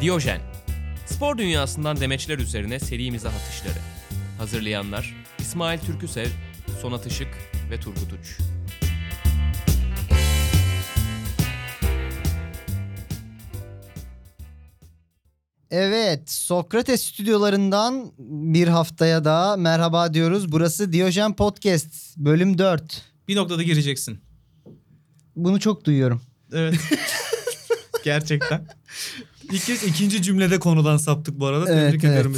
Diyojen. Spor dünyasından demeçler üzerine serimize atışları. Hazırlayanlar İsmail Türküsev, Sonat Işık ve Turgut Uç. Evet, Sokrates stüdyolarından bir haftaya daha merhaba diyoruz. Burası Diyojen Podcast bölüm 4. Bir noktada gireceksin. Bunu çok duyuyorum. Evet. Gerçekten. İlk kez ikinci cümlede konudan saptık bu arada. Evet, Tebrik ediyorum.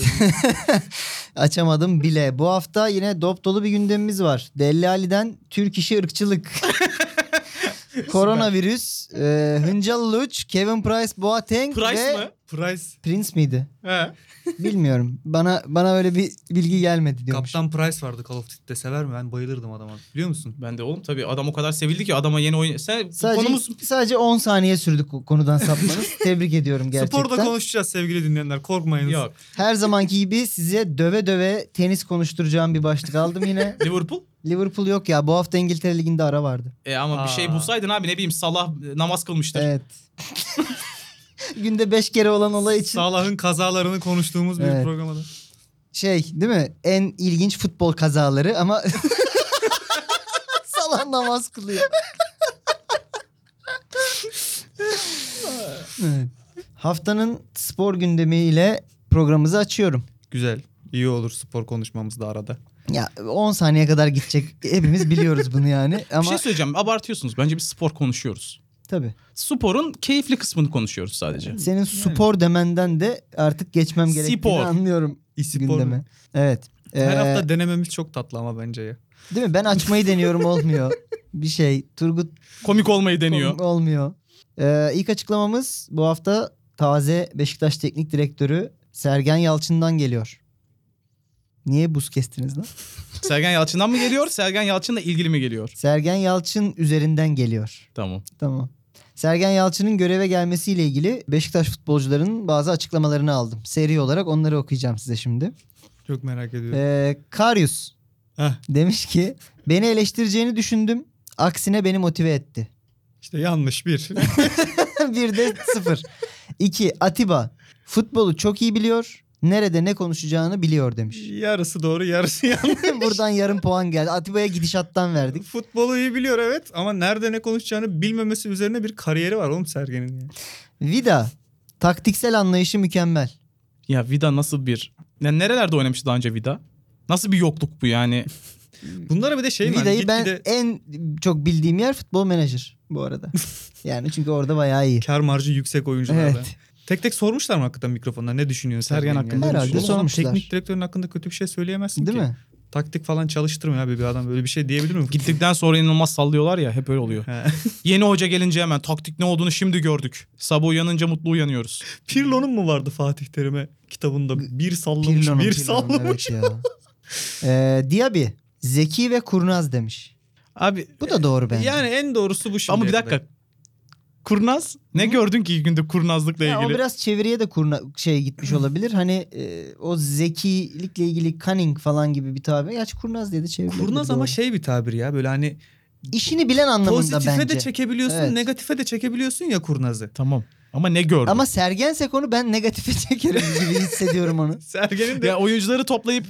Açamadım bile. Bu hafta yine dop dolu bir gündemimiz var. Dellali'den Türk işi ırkçılık. Koronavirüs, e, Hıncal Luç, Kevin Price, Boateng Price ve mı? Price. Prince miydi? He. Bilmiyorum. Bana bana öyle bir bilgi gelmedi diyormuş. Kaptan Price vardı Call of Duty'de sever mi? Ben bayılırdım adama. Biliyor musun? Ben de oğlum tabii adam o kadar sevildi ki adama yeni oyun... Sen Sadece konumuz sadece 10 saniye sürdü ko- konudan sapmanız. Tebrik ediyorum gerçekten. Sporda konuşacağız sevgili dinleyenler. Korkmayınız. yok. Her zamanki gibi size döve döve tenis konuşturacağım bir başlık aldım yine. Liverpool. Liverpool yok ya. Bu hafta İngiltere Ligi'nde ara vardı. E ama bir Aa. şey bulsaydın abi ne bileyim Salah e, namaz kılmıştır. Evet. Günde beş kere olan olay için Salah'ın kazalarını konuştuğumuz bir Evet. programda. şey değil mi? En ilginç futbol kazaları ama Salah namaz kılıyor. Evet. Haftanın spor gündemiyle programımızı açıyorum. Güzel. İyi olur spor konuşmamız da arada. Ya 10 saniye kadar gidecek. Hepimiz biliyoruz bunu yani Bir ama şey söyleyeceğim abartıyorsunuz. Bence biz spor konuşuyoruz. tabii. Sporun keyifli kısmını konuşuyoruz sadece. Senin spor demenden de artık geçmem gerektiğini Spor. anlıyorum İspor. gündeme. Evet. Her Ee, hafta denememiz çok tatlı ama bence ya. Değil mi? Ben açmayı deniyorum olmuyor. Bir şey. Turgut Komik olmayı deniyor. Ol- Olmuyor. Ee, ilk açıklamamız bu hafta taze Beşiktaş Teknik Direktörü Sergen Yalçın'dan geliyor. Niye buz kestiniz lan? Sergen Yalçın'dan mı geliyor? Sergen Yalçın'la ilgili mi geliyor? Sergen Yalçın üzerinden geliyor. Tamam. Tamam. Sergen Yalçın'ın göreve gelmesiyle ilgili Beşiktaş futbolcularının bazı açıklamalarını aldım. Seri olarak onları okuyacağım size şimdi. Çok merak ediyorum. Ee, Karius Heh. demiş ki beni eleştireceğini düşündüm. Aksine beni motive etti. İşte yanlış bir. bir de sıfır. İki Atiba futbolu çok iyi biliyor. Nerede ne konuşacağını biliyor demiş. yarısı doğru yarısı yanlış. Buradan yarım puan geldi. Atiba'ya gidişattan verdik. Futbolu iyi biliyor evet ama nerede ne konuşacağını bilmemesi üzerine bir kariyeri var oğlum Sergen'in. Yani. Vida taktiksel anlayışı mükemmel. Ya Vida nasıl bir... Ya nerelerde oynamıştı daha önce Vida? Nasıl bir yokluk bu yani? Bunlara bir de şey mi? Hani Vida'yı ben gitgide en çok bildiğim yer futbol menajer bu arada. yani çünkü orada bayağı iyi. kar marjı yüksek oyunculardan. Evet. Tek tek sormuşlar mı hakikaten mikrofonda ne düşünüyorsun Sergen Sergen hakkında hakkında? Herhalde Oğlum adam sormuşlar. Teknik direktörün hakkında kötü bir şey söyleyemezsin Değil ki. mi? Taktik falan çalıştırmıyor abi bir adam böyle bir şey diyebilir mi? Gittikten sonra inanılmaz sallıyorlar ya hep öyle oluyor. He. Yeni hoca gelince hemen taktik ne olduğunu şimdi gördük. Sabah uyanınca mutlu uyanıyoruz. Pirlo'nun mu vardı Fatih Terim'e kitabında bir sallamış Pirlo'nun, bir Pirlo'nun, sallamış. Evet ya. Ee, Diaby zeki ve kurnaz demiş. Abi Bu da doğru bence. Yani en doğrusu bu şimdi. ama bir dakika. Kurnaz ne gördün ki ilk günde kurnazlıkla Ya o ilgili? biraz çeviriye de kurna şey gitmiş olabilir. Hani e, o zekilikle ilgili cunning falan gibi bir tabir. Gerçi kurnaz diye de çevirilebilir. Kurnaz ama doğru. şey bir tabir ya böyle hani işini bilen anlamında pozitife bence. de çekebiliyorsun Evet. negatife de çekebiliyorsun ya kurnazı. Tamam. Ama ne gördün? ama sergense konu ben negatife çekerim gibi hissediyorum onu. Sergen'in de Ya oyuncuları toplayıp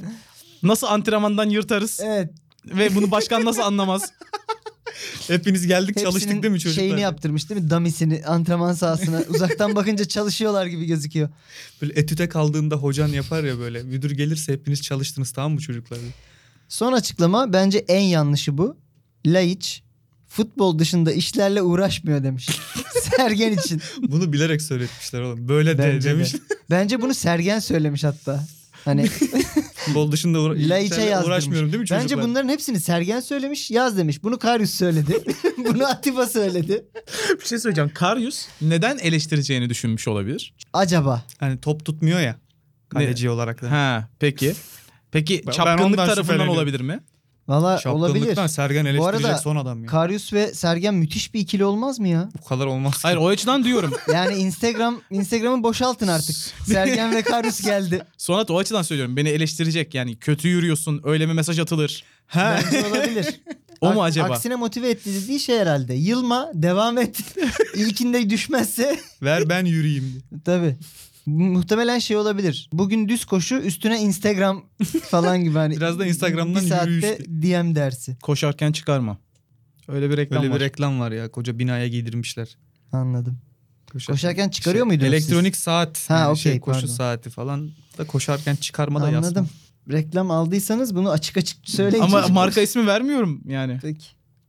nasıl antrenmandan yırtarız Evet. ve bunu başkan nasıl anlamaz? hepiniz geldik hepsinin çalıştık değil mi çocuklar? Şeyini yaptırmış değil mi? Damisini antrenman sahasına. Uzaktan bakınca çalışıyorlar gibi gözüküyor. Böyle etüte kaldığında hocan yapar ya böyle müdür gelirse hepiniz çalıştınız tamam mı çocuklar? Son açıklama bence en yanlışı bu. Laiç futbol dışında işlerle uğraşmıyor demiş. Sergen için. Bunu bilerek söyletmişler oğlum. Böyle de Bence de. demiş. Bence bunu Sergen söylemiş hatta. Hani Futbol dışında uğra- Laiç'e işlerle yazdırmış. uğraşmıyorum değil mi çocuklar? Bence bunların hepsini Sergen söylemiş, yaz demiş. Bunu Karius söyledi. Bunu Atiba söyledi. Bir şey söyleyeceğim. Karyus neden eleştireceğini düşünmüş olabilir? Acaba. Hani top tutmuyor ya kaleci olarak da. Ha peki. Peki Ben- ben çapkınlık ondan tarafından şüpheleniyorum. olabilir mi? Valla olabilir. Şapkınlıktan Sergen Bu eleştirecek arada son adam ya. Karius ve Sergen müthiş bir ikili olmaz mı ya? Bu kadar olmaz. Hayır o açıdan diyorum. Yani Instagram Instagram'ı boşaltın artık. Sergen ve Karius geldi. Sonat o açıdan söylüyorum. Beni eleştirecek yani kötü yürüyorsun öyle mi mesaj atılır? Ha. Bence olabilir. O mu Ak- acaba? Aksine motive etti dediği şey herhalde. Yılma, devam et. İlkinde düşmezse Ver ben yürüyeyim. diye. tabii. Muhtemelen şey olabilir. Bugün düz koşu üstüne Instagram falan gibi hani. Biraz da Instagram'dan bir saatte yürüyüş. DM dersi. Koşarken çıkarma. Öyle bir reklam Öyle var. bir reklam var ya koca binaya giydirmişler. Anladım. Koşarken, Koşarken çıkarıyor Şey, muydunuz siz? Elektronik saat. Ha, yani hani okey, şey, koşu pardon. saati falan da koşarken çıkarma da yazma. Anladım. Reklam aldıysanız bunu açık açık söyleyin. Ama çocuklar. marka ismi vermiyorum yani. Peki.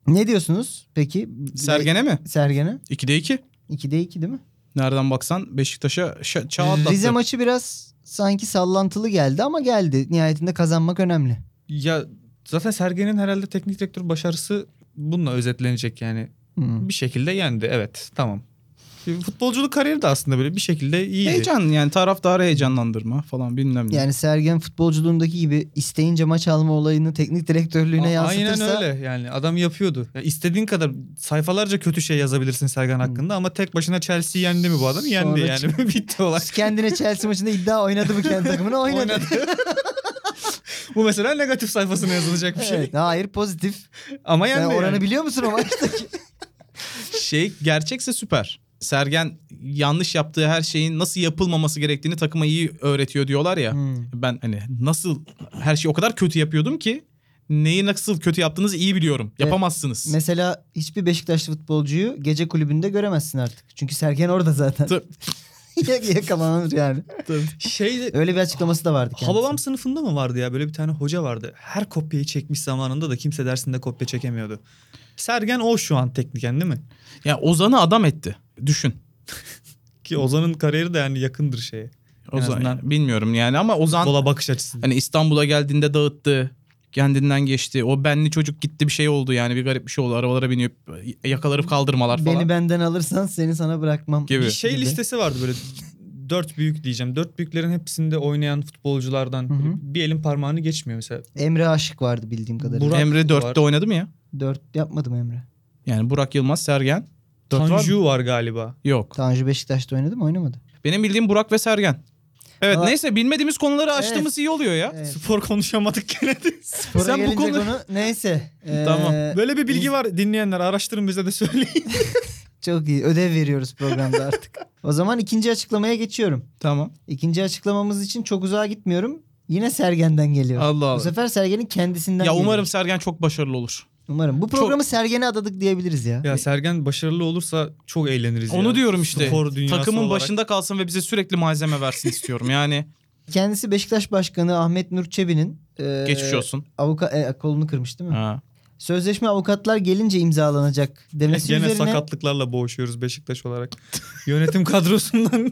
Ne diyorsunuz peki? Sergene mi? Sergen'e. 2'de 2. 2'de 2 değil mi? Nereden baksan Beşiktaş'a şa- çağ atlattı. Rize maçı biraz sanki sallantılı geldi ama geldi. Nihayetinde kazanmak önemli. ya Zaten Sergen'in herhalde teknik direktör başarısı bununla özetlenecek yani. Hmm. Bir şekilde yendi evet tamam. E, Futbolculuk kariyeri de aslında böyle bir şekilde iyiydi. heyecan yani taraftarı heyecanlandırma falan bilmem ne. Yani Sergen futbolculuğundaki gibi isteyince maç alma olayını teknik direktörlüğüne A- yansıtırsa Aynen öyle yani adam yapıyordu. Ya istediğin kadar sayfalarca kötü şey yazabilirsin Sergen hakkında ama tek başına Chelsea yendi mi bu adam? Yendi Hmm. Sonra yani bitti olay. kendine Chelsea maçında iddia oynadı mı kendi takımına oynadı. bu mesela negatif sayfasına yazılacak bir şey. Evet, hayır pozitif. Ama Sen yendi oranı yani. biliyor musun o maçtaki? şey gerçekse süper. Sergen yanlış yaptığı her şeyin nasıl yapılmaması gerektiğini takıma iyi öğretiyor diyorlar ya. Hmm. Ben hani nasıl her şeyi o kadar kötü yapıyordum ki neyi nasıl kötü yaptığınızı iyi biliyorum. Yapamazsınız. Mesela hiçbir Beşiktaşlı futbolcuyu gece kulübünde göremezsin artık. Çünkü Sergen orada zaten. Tabii. Yakalanır yani. Şey de- Öyle bir açıklaması da vardı. kendisinin. Hababam sınıfında mı vardı ya böyle bir tane hoca vardı. Her kopyayı çekmiş zamanında da kimse dersinde kopya çekemiyordu. Sergen o şu an tekniken değil mi? Ya Ozan'ı adam etti. Düşün. Ki Ozan'ın kariyeri de yani yakındır şeye. En Ozan azından- bilmiyorum yani ama Ozan Bola bakış açısından. hani İstanbul'a geldiğinde dağıttı. Kendinden geçti. O benli çocuk gitti bir şey oldu yani bir garip bir şey oldu. Arabalara binip yakalarıp kaldırmalar falan. Beni benden alırsan seni sana bırakmam. Gibi. Bir şey Gibi. listesi vardı böyle dört büyük diyeceğim. Dört büyüklerin hepsinde oynayan futbolculardan Hı hı. bir elin parmağını geçmiyor mesela. Emre Aşık vardı bildiğim kadarıyla. Burak Emre var. 4'te oynadı mı ya? 4 yapmadım Emre. Yani Burak Yılmaz, Sergen. 4 var mı? Tanju var galiba. Yok. Tanju Beşiktaş'ta oynadı mı? Oynamadı. Benim bildiğim Burak ve Sergen. Evet Valla- neyse bilmediğimiz konuları açtığımız iyi oluyor ya. Evet. Spor konuşamadık gene de. Spora E Sen bu gelince konu- konu... Neyse. Ee, Tamam. Böyle bir bilgi var dinleyenler araştırın bize de söyleyin. Çok iyi. Ödev veriyoruz programda artık. o zaman ikinci açıklamaya geçiyorum. Tamam. İkinci açıklamamız için çok uzağa gitmiyorum. Yine Sergen'den geliyor. Allah Bu Allah. sefer Sergen'in kendisinden Ya geliyor. umarım Sergen çok başarılı olur. Umarım. Bu programı Sergen'e adadık diyebiliriz ya. ya Sergen başarılı olursa çok eğleniriz ya. Hani Onu diyorum işte. Spor dünyası Takımın olarak. başında kalsın ve bize sürekli malzeme versin istiyorum. Yani Kendisi Beşiktaş Başkanı Ahmet Nur Çebi'nin e, geçmiş olsun. avuka- e, kolunu kırmış değil mi? Ha. Sözleşme avukatlar gelince imzalanacak demesi E, Gene üzerine sakatlıklarla boğuşuyoruz Beşiktaş olarak. Yönetim kadrosundan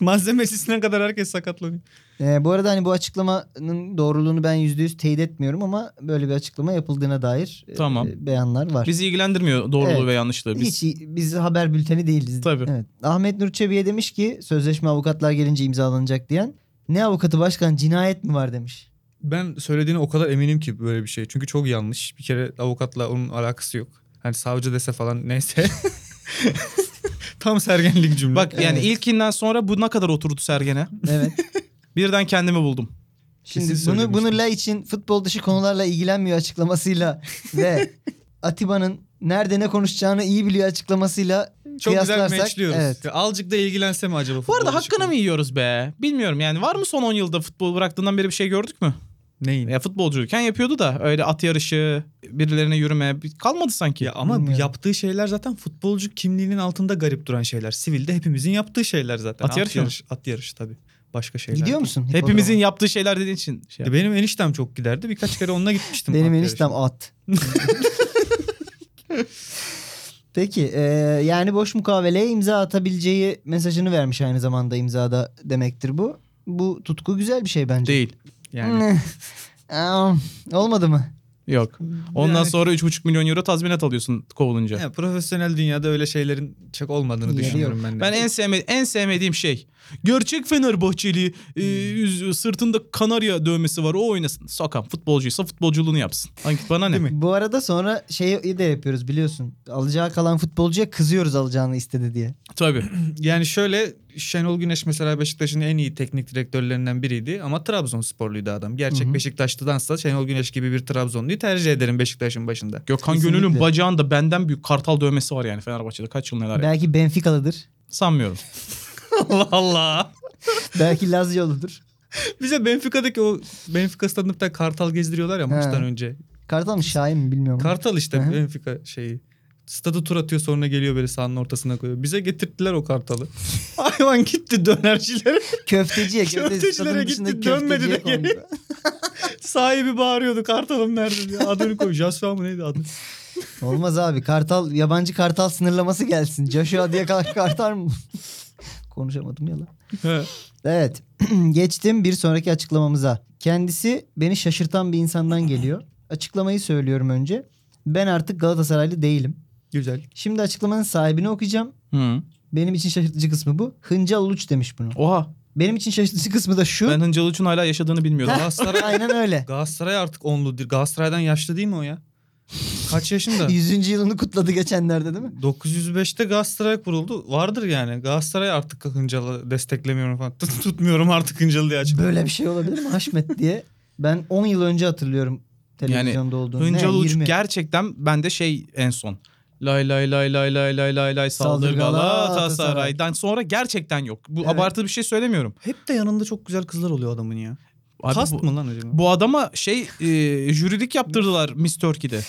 malzemesine kadar herkes sakatlanıyor. Ee, bu arada hani bu açıklamanın doğruluğunu ben yüzde yüz teyit etmiyorum ama böyle bir açıklama yapıldığına dair e, Tamam. beyanlar var. Biz, Bizi ilgilendirmiyor doğruluğu Evet. ve yanlışlığı. Biz Hiç biz haber bülteni değiliz. Tabii. Evet. Ahmet Nur Çebi'ye demiş ki sözleşme avukatlar gelince imzalanacak diyen ne avukatı başkan cinayet mi var demiş. Ben söylediğine o kadar eminim ki böyle bir şey. Çünkü çok yanlış. Bir kere avukatla onun alakası yok. Hani savcı dese falan neyse. Tam sergenlik cümle. Bak yani Evet. ilkinden sonra bu ne kadar oturdu Sergen'e? Evet. Birden kendimi buldum. Şimdi Kesin bunu bunu söylemiştim. la için futbol dışı konularla ilgilenmiyor açıklamasıyla ve Atiba'nın nerede ne konuşacağını iyi biliyor açıklamasıyla çok güzel kıyaslarsak, meçliyoruz. evet. Ya Azıcık da ilgilense mi acaba? Bu arada futbolcu hakkını konu? mı yiyoruz be? Bilmiyorum yani var mı son 10 yılda futbol bıraktığından beri bir şey gördük mü? Neyin? Ya futbolcuyken yapıyordu da öyle at yarışı, birilerine yürüme bir- kalmadı sanki. Ya ama bu Bilmiyorum. yaptığı şeyler zaten futbolcu kimliğinin altında garip duran şeyler. Sivilde hepimizin yaptığı şeyler zaten. At yarışı mı? yarışı, at yarışı tabii. Başka şeyler. Gidiyor değil. musun? Hepimizin hipodroma? yaptığı şeyler dediğin için şey Ya yap- benim eniştem çok giderdi. Birkaç kere onunla gitmiştim. Benim at eniştem at. Peki e, yani boş mukaveleye imza atabileceği mesajını vermiş aynı zamanda imzada demektir bu. Bu tutku güzel bir şey bence. değil. yarışı. Yani Am, Olmadı mı? Yok. Ondan Yani- sonra 3,5 milyon euro tazminat alıyorsun kovulunca. Ya, profesyonel dünyada öyle şeylerin çok olmadığını Hmm. Yeri düşünüyorum ben de. Ben en sevme en sevmediğim şey gerçek Fenerbahçeli Hmm. e, yüz- sırtında kanarya dövmesi var o oynasın. Sokan futbolcuysa futbolculuğunu yapsın. Hangi bana ne? Değil mi? Bu arada sonra şeyi de yapıyoruz biliyorsun. Alacağı kalan futbolcuya kızıyoruz alacağını istedi diye. Tabii. yani şöyle Şenol Güneş mesela Beşiktaş'ın en iyi teknik direktörlerinden biriydi ama Trabzonsporluydu adam. Gerçek Hı hı. Beşiktaşlıdansa Şenol Güneş gibi bir Trabzonluyu tercih ederim Beşiktaş'ın başında. Gökhan Kesinlikle. Gönül'ün bacağında benden büyük kartal dövmesi var yani Fenerbahçe'de kaç yıl neler. yaptı. Belki Benfica'lıdır. Sanmıyorum. Allah Allah. Belki Lazio'ludur. Bize Benfica'daki o Benfica stadında bir tane kartal gezdiriyorlar ya maçtan önce. Kartal mı Şahin mi bilmiyorum. Kartal işte Hı hı. Benfica şeyi. Stadı tur atıyor sonra geliyor böyle sahanın ortasına koyuyor. Bize getirttiler o kartalı. Hayvan gitti dönercilere. Köfteciye. köfte- Köftecilere stadın gitti, dışındaki dönmedi de köfteciye geri. kondu. Sahibi bağırıyordu kartalım nerede diye. Adını koy. Joshua mı neydi adı? Olmaz abi. Kartal yabancı kartal sınırlaması gelsin. Joshua diye kadar kartal mı? Konuşamadım ya lan. He. Evet. Geçtim bir sonraki açıklamamıza. Kendisi beni şaşırtan bir insandan geliyor. Açıklamayı söylüyorum önce. Ben artık Galatasaraylı değilim. Güzel. Şimdi açıklamanın sahibini okuyacağım. Hı. Benim için şaşırtıcı kısmı bu. Hıncal Uluç demiş bunu. Oha Benim için şaşırtıcı kısmı da şu. ben Hıncal Uç'un hala yaşadığını bilmiyordum. Galatasaray, Aynen öyle. Galatasaray artık onlu. Galatasaray'dan yaşlı değil mi o ya? Kaç yaşında? 100. yılını kutladı geçenlerde değil mi? 905'te Galatasaray kuruldu. Vardır yani. Galatasaray artık Hıncalı desteklemiyorum falan. Tut- Tutmuyorum artık Hıncalı diye açık. Böyle bir şey olabilir mi Haşmet diye. Ben 10 yıl önce hatırlıyorum televizyonda olduğunu. Hıncal Ne, Uç 20? gerçekten bende şey en son. Lay lay lay lay lay lay lay lay saldır Saldır Galatasaray'dan Galatasaray'dan sonra gerçekten yok. Bu Evet. abartılı bir şey söylemiyorum. Hep de yanında çok güzel kızlar oluyor adamın ya. Abi Kast bu, mı lan acaba? bu adama şey e, jürilik yaptırdılar Miss Turkey'de.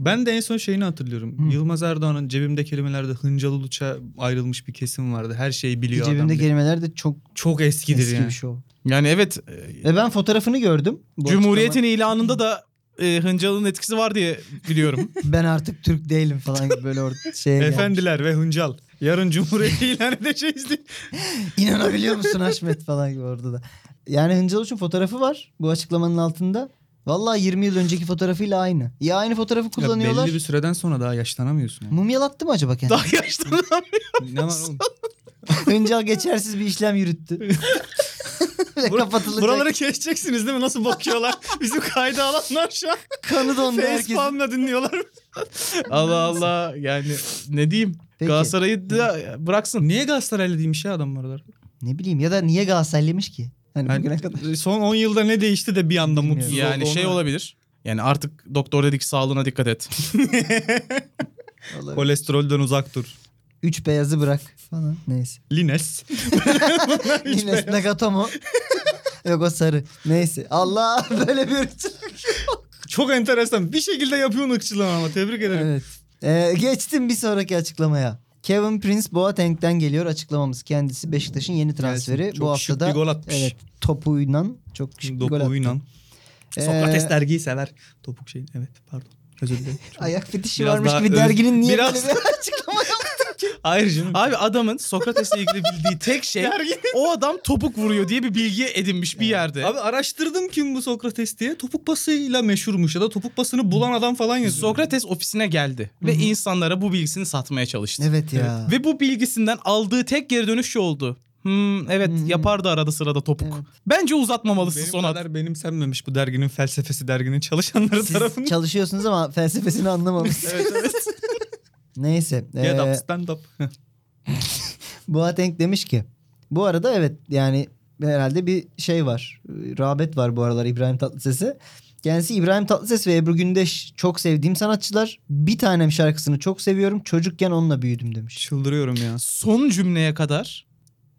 Ben de en son şeyini hatırlıyorum. Hı. Yılmaz Erdoğan'ın cebimde kelimelerde Hıncalı Uluç'a ayrılmış bir kesim vardı. Her şeyi biliyor adam. Cebimde diye. kelimeler de çok Çok eskidir eski yani. bir şey o. Yani evet e, Ve ben fotoğrafını gördüm. Bu Cumhuriyet'in ilanında da e, Hıncal'ın etkisi var diye biliyorum. açıklama- Ben artık Türk değilim falan gibi böyle or- şeye gelmiş. Efendiler ve Hıncal. Yarın Cumhuriyet şey- ilan edeceğiz diye. İnanabiliyor musun Haşmet falan gibi orada da. Yani Hıncal Uç'un fotoğrafı var bu açıklamanın altında. Vallahi 20 yıl önceki fotoğrafıyla aynı. Ya aynı fotoğrafı Ya kullanıyorlar. Belli bir süreden sonra daha yaşlanamıyorsun. Yani. Mumyalattı mı acaba kendini? Daha yaşlı. ne var oğlum? Hıncal geçersiz bir işlem yürüttü. Ve kapatılacak. Buraları keseceksiniz değil mi? Nasıl bakıyorlar? Bizim kayda alanlar şu an. kanı dondu herkesin. Facepalm'la dinliyorlar. Allah Allah yani ne diyeyim. Peki. Galatasaray'ı da bıraksın. Niye Galatasaraylı değilmiş ya adam bu aralar? Ne bileyim ya da niye Galatasaraylıymış ki? Hani Yani bugüne kadar. E, son 10 yılda ne değişti de bir anda Bilmiyorum. mutsuz oldu. Yani şey Ona- olabilir. Yani artık doktor dedik sağlığına dikkat et. Kolesterolden uzak dur. Üç beyazı bırak falan. Neyse. Lines. Üç Yine Nagatomo. Yok o sarı. Neyse. Allah böyle bir Çok enteresan. Bir şekilde yapıyorsun ırkçılığını ama tebrik ederim. Evet. Ee, geçtim bir sonraki açıklamaya. Kevin Prince Boateng'den geliyor açıklamamız. Kendisi Beşiktaş'ın yeni transferi. Gelsin. Çok Bu şık hafta da bir gol atmış. evet, topuyla çok şık bir gol attı. Dokuyunan. Ee, Sokrates dergiyi sever. Topuk şeyin. Evet pardon. Özür dilerim. Ayak fetişi Biraz varmış daha gibi öz- derginin niye Biraz- böyle bir açıklama yaptı? Hayır canım. Abi adamın Sokrates'le ilgili bildiği tek şey o adam topuk vuruyor diye bir bilgi edinmiş bir yerde. Abi araştırdım kim bu Sokrates diye. Topuk basıyla meşhurmuş ya da topuk basını bulan adam falan yazıyor. Sokrates ofisine geldi ve insanlara bu bilgisini satmaya çalıştı. Evet ya. Ve bu bilgisinden aldığı tek geri dönüş şu oldu. Hmm, evet Hı hı. yapardı arada sırada topuk. Evet. Bence uzatmamalısın Benim Sonat. kadar benimsenmemiş bu derginin felsefesi derginin çalışanları Siz tarafından. çalışıyorsunuz ama felsefesini anlamamışsınız. evet evet. Neyse. Get ee, up stand up. Boateng demiş ki bu arada evet yani herhalde bir şey var. e, Rağbet var bu aralar İbrahim Tatlıses'e. Kendisi İbrahim Tatlıses ve Ebru Gündeş çok sevdiğim sanatçılar. Bir tanem şarkısını çok seviyorum. Çocukken onunla büyüdüm demiş. Çıldırıyorum ya. Son cümleye kadar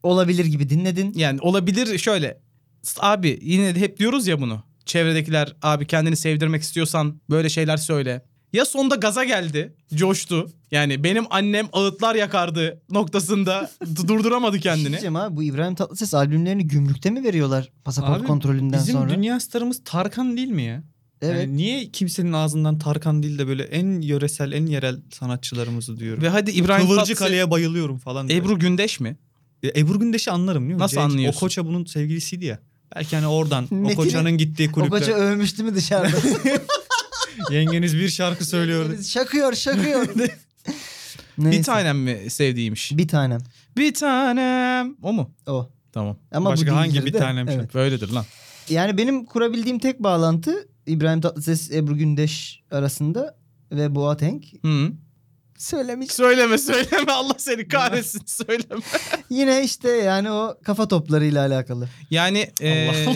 Olabilir gibi dinledin. yani olabilir şöyle. S- Abi yine de hep diyoruz ya bunu. Çevredekiler abi kendini sevdirmek istiyorsan böyle şeyler söyle. Ya sonda gaza geldi, coştu. Yani benim annem ağıtlar yakardı noktasında d- durduramadı kendini. Diyeceğim abi bu İbrahim Tatlıses albümlerini gümrükte mi veriyorlar pasaport Abi, kontrolünden Bizim sonra? dünya starımız Tarkan değil mi ya? evet. Yani niye kimsenin ağzından Tarkan değil de böyle en yöresel, en yerel sanatçılarımızı diyorum. Ve hadi İbrahim Kıvırcık Tatlıses, Ali'ye bayılıyorum falan. diyor. Ebru Gündeş mi? E, Ebru Gündeş'i anlarım değil mi? Nasıl Cenk- anlıyorsun? O koça bunun sevgilisiydi ya. Belki hani oradan o Metin- koçanın gittiği o kulüpler. koca övmüştü mü dışarıda? Yengeniz bir şarkı söylüyordu. şakıyor şakıyor. Neyse. Bir tanem mi sevdiğiymiş? Bir tanem. Bir tanem. O mu? O. Tamam. Ama Başka bu hangi değildir bir de. tanem Evet. Böyledir lan. Yani benim kurabildiğim tek bağlantı İbrahim Tatlıses, Ebru Gündeş arasında ve Boateng. Hı. Söylemiş. Söyleme söyleme Allah seni kahretsin söyleme. Yine işte yani o kafa toplarıyla alakalı. Yani eee, Allah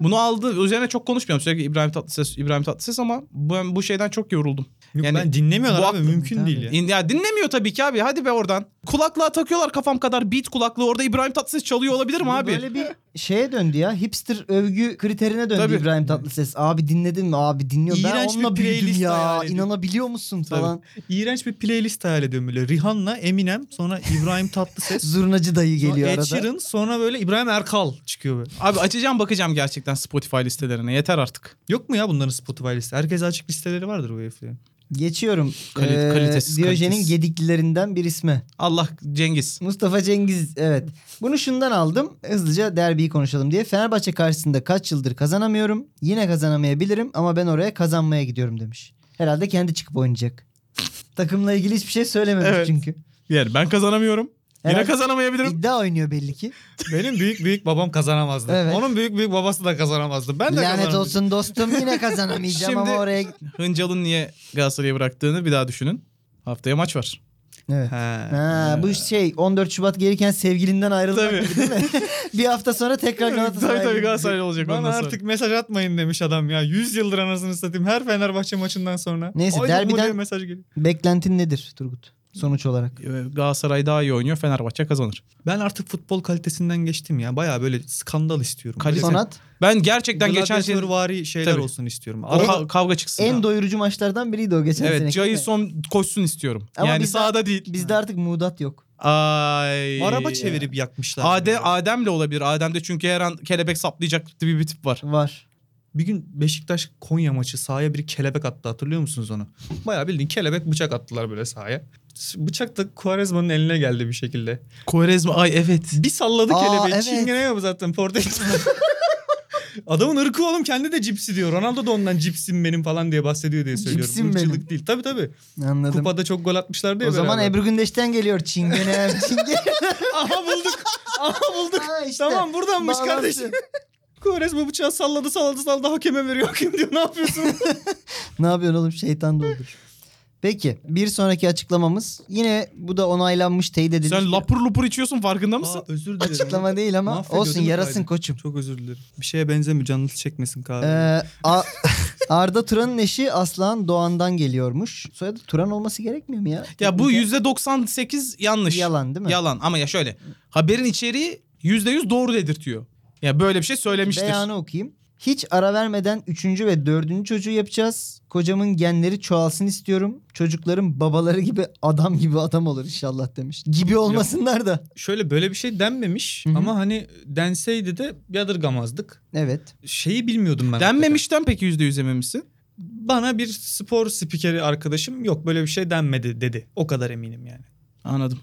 bunu aldı. Üzerine çok konuşmuyorum sürekli İbrahim Tatlıses İbrahim Tatlıses ama ben bu şeyden çok yoruldum. Yok, Yani ben dinlemiyorlar bu abi aklı- mümkün Tabii. değil ya. İn- Ya dinlemiyor tabii ki abi. Hadi be oradan. Kulaklığa takıyorlar kafam kadar beat kulaklığı. Orada İbrahim Tatlıses çalıyor olabilir mi Bu abi? Böyle bir şeye döndü ya. Hipster övgü kriterine döndü Tabii. İbrahim Tatlıses. Abi dinledin mi? Abi dinliyor. ben İğrenç bir onunla büyüdüm playlist ya. hayal ediyorum. İnanabiliyor musun Tabii. falan. İğrenç bir playlist hayal ediyorum böyle. Rihanna, Eminem, sonra İbrahim Tatlıses, Zurnacı dayı sonra geliyor Ed arada. Sheeran, sonra böyle İbrahim Erkal çıkıyor böyle. Abi açacağım bakacağım gerçekten Spotify listelerine. Yeter artık. Yok mu ya bunların Spotify listesi? Herkese açık listeleri vardır bu heriflerin. Geçiyorum. Kalite- Ee, kalitesiz, Diyojen'in kalitesiz. gediklilerinden bir isme. Allah Cengiz. Mustafa Cengiz evet. Bunu şundan aldım. Hızlıca derbiyi konuşalım diye. Fenerbahçe karşısında kaç yıldır kazanamıyorum. Yine kazanamayabilirim ama ben oraya kazanmaya gidiyorum demiş. Herhalde kendi çıkıp oynayacak. Takımla ilgili hiçbir şey söylememiş Evet. çünkü. Yani ben kazanamıyorum. Yine Herhalde kazanamayabilirim. iddia oynuyor belli ki. Benim büyük büyük babam kazanamazdı. Evet. Onun büyük büyük babası da kazanamazdı. Ben de Lanet kazanamadım. olsun dostum yine kazanamayacağım ama Şimdi- oraya... Hıncal'ın niye Galatasaray'a bıraktığını bir daha düşünün. Haftaya maç var. Evet. He. Ha, bu şey 14 Şubat gelirken sevgilinden ayrılmak Tabii. gibi değil mi? bir hafta sonra tekrar Galatasaray'a tabii tabii gidecek. Galatasaraylı olacak Bana ondan sonra. artık mesaj atmayın demiş adam ya. 100 yıldır anasını satayım her Fenerbahçe maçından sonra. Neyse, Ay bu mu derbiden- diye mesaj geliyor. Beklentin nedir Turgut? Sonuç olarak. Ee, Galatasaray daha iyi oynuyor. Fenerbahçe kazanır. Ben artık futbol kalitesinden geçtim ya. Baya böyle skandal istiyorum. Kalite- Böyle Sonat Ben gerçekten geçen sene gladyatörvari şeyler Tabii. olsun istiyorum. Ka- Arada- kavga çıksın. en Ha. doyurucu maçlardan biriydi o geçen Evet, seneki, değil mi? Jason koşsun istiyorum. Ama yani biz- sahada değil. Bizde artık mudat yok. Ay. araba çevirip yakmışlar. Adem, Adem'le olabilir. Adem'de çünkü her an kelebek saplayacak gibi bir tip var. Var. bir gün Beşiktaş Konya maçı sahaya bir kelebek attı hatırlıyor musunuz onu? Bayağı bildiğin kelebek bıçak attılar böyle sahaya. Bıçak da Quaresma'nın eline geldi bir şekilde. Kovarezma ay evet. Bir salladı Aa, kelebeği. evet. Çingene yok zaten Portekiz. Adamın ırkı oğlum kendi de cipsi diyor. Ronaldo da ondan cipsim benim falan diye bahsediyor diye söylüyorum. Cipsim Irkçılık benim. değil. Tabii tabii. Anladım. Kupada çok gol atmışlardı ya o zaman beraber. Ebru Gündeş'ten geliyor çingenem. Çingene. Aha bulduk. Aha bulduk. Ha, işte. Tamam buradanmış Bağlantı. kardeşim. Kores bu bıçağı salladı salladı salladı hakeme veriyor. Hakem diyor ne yapıyorsun? Ne yapıyorsun oğlum şeytan da olur. Peki bir sonraki açıklamamız yine bu da onaylanmış teyit edilmiş. Sen bir lapur lupur içiyorsun farkında mısın? özür dilerim. Açıklama değil ama Mahvediyor olsun değil mi yarasın kaydı? koçum. Çok özür dilerim. Bir şeye benzemiyor. Canınızı çekmesin kahve. Ee, A- Arda Turan'ın eşi Aslan Doğan'dan geliyormuş. Soyadı Turan olması gerekmiyor mu ya? Ya bu %98 yanlış. Yalan değil mi? Yalan ama ya şöyle. Haberin içeriği %100 doğru dedirtiyor. Ya böyle bir şey söylemiştir. Beyanı okuyayım. Hiç ara vermeden üçüncü ve dördüncü çocuğu yapacağız. Kocamın genleri çoğalsın istiyorum. Çocuklarım babaları gibi adam gibi adam olur inşallah demiş. Gibi olmasınlar da. Şöyle böyle bir şey denmemiş Hı hı. ama hani denseydi de yadırgamazdık. Evet. Şeyi bilmiyordum ben. Denmemişten peki %100 emin misin? Bana bir spor spikeri arkadaşım yok böyle bir şey denmedi dedi. O kadar eminim yani. Anladım.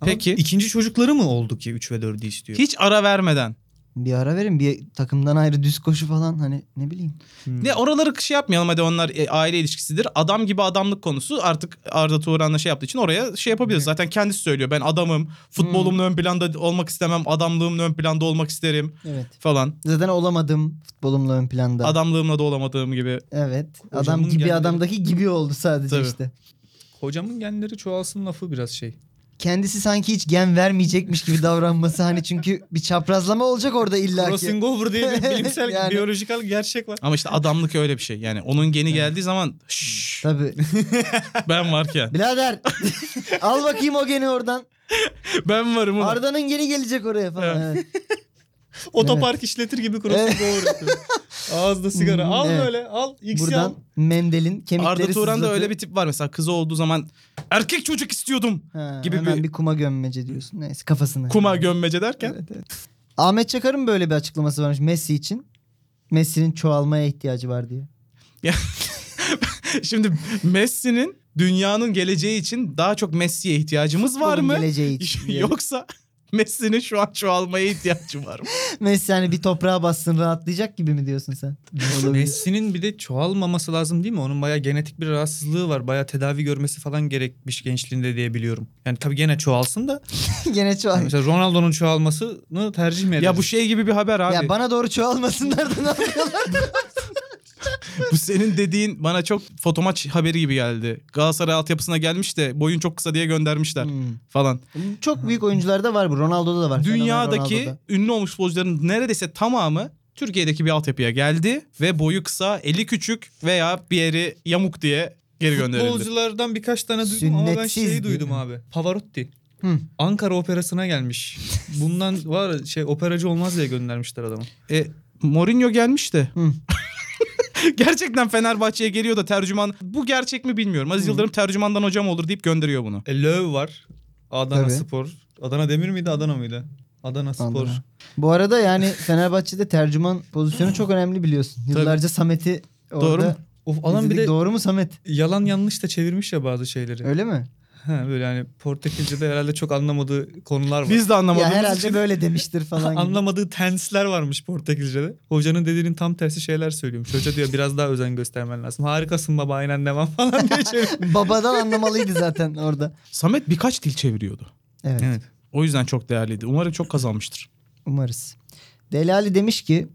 Ama Peki. ikinci çocukları mı oldu ki 3 ve 4'ü istiyor? Hiç ara vermeden. Bir ara verin bir takımdan ayrı düz koşu falan hani ne bileyim. Hmm. Ne oraları şey yapmayalım hadi onlar e, aile ilişkisidir. Adam gibi adamlık konusu artık Arda Turan'la şey yaptığı için oraya şey yapabiliriz. Zaten kendisi söylüyor ben adamım. Futbolumla ön planda olmak istemem. Adamlığımla ön planda olmak isterim Evet. falan. Zaten olamadım futbolumla ön planda. Adamlığımla da olamadığım gibi. evet. Kocamın Adam gibi genleri- adamdaki gibi oldu sadece Tabii. işte. Hocamın genleri çoğalsın lafı biraz şey. Kendisi sanki hiç gen vermeyecekmiş gibi davranması hani çünkü bir çaprazlama olacak orada illa ki. Crossing over diye bir bilimsel Yani. biyolojikal gerçek var. Ama işte adamlık öyle bir şey. Yani onun geni geldiği zaman şşş Tabii. ben varken. Birader al bakayım o geni oradan. Ben varım ulan. Arda'nın geri gelecek oraya falan. Evet. Otopark işletir gibi crossing over yapıyor. Ağızda sigara. Hmm, al evet. böyle al. X'i al. Buradan Mendel'in kemikleri Arda Turan'da sızladı. öyle bir tip var mesela kızı olduğu zaman erkek çocuk istiyordum Ha, gibi hemen bir- bir... kuma gömmece diyorsun. Neyse kafasına. kuma gömmece derken. Evet, evet. Ahmet Çakar'ın böyle bir açıklaması varmış Messi için. Messi'nin çoğalmaya ihtiyacı var diye. Şimdi Messi'nin dünyanın geleceği için daha çok Messi'ye ihtiyacımız var Futbolun mı? Geleceği için. diye. Yoksa Messi'nin şu an çoğalmaya ihtiyacı var mı? Messi hani bir toprağa bassın rahatlayacak gibi mi diyorsun sen? Olabilir. Messi'nin bir de çoğalmaması lazım değil mi? Onun bayağı genetik bir rahatsızlığı var. Bayağı tedavi görmesi falan gerekmiş gençliğinde diye biliyorum. Yani tabii gene çoğalsın da. Gene Yani çoğal. mesela Ronaldo'nun çoğalmasını tercih mi ederiz? ya bu şey gibi bir haber abi. Ya bana doğru çoğalmasınlar da ne yapıyorlar? Bu senin dediğin bana çok fotomaç haberi gibi geldi. Galatasaray altyapısına gelmiş de boyun çok kısa diye göndermişler Hmm. falan. Çok büyük oyuncularda var bu. Ronaldo'da da var. Fenomen Dünyadaki Ronaldo'da. ünlü olmuş futbolcuların neredeyse tamamı Türkiye'deki bir altyapıya geldi ve boyu kısa, eli küçük veya bir yeri yamuk diye geri gönderildi. Futbolculardan birkaç tane duydum ama ben Sünnetsiz şeyi değil duydum mi? abi. Pavarotti. Hı. Ankara Operası'na gelmiş. Bundan var ya, şey operacı olmaz diye göndermişler adamı. E, Mourinho gelmiş de. Gerçekten Fenerbahçe'ye geliyor da tercüman. Bu gerçek mi bilmiyorum. Aziz Yıldırım tercümandan hocam olur deyip gönderiyor bunu. E, Löw var. Adana Tabii. Spor. Adana Demir miydi Adana mıydı? Adana Spor. Adana. Bu arada yani Fenerbahçe'de tercüman pozisyonu çok önemli biliyorsun. Yıllarca Samet'i orada Doğru mu? Of adam bir izledik. de Doğru mu Samet? yalan yanlış da çevirmiş ya bazı şeyleri. Öyle mi? Ha, böyle hani Portekizce'de herhalde çok anlamadığı konular var. Biz de ya anlamadığımız herhalde için. böyle demiştir falan gibi. Anlamadığı tensler varmış Portekizce'de. Hocanın dediğinin tam tersi şeyler söylüyormuş. Hoca diyor biraz daha özen göstermen lazım. Harikasın baba aynen devam falan diye çeviriyor. Babadan anlamalıydı zaten orada. Samet birkaç dil çeviriyordu. Evet. Evet. O yüzden çok değerliydi. Umarım çok kazanmıştır. Umarız. Delali demiş ki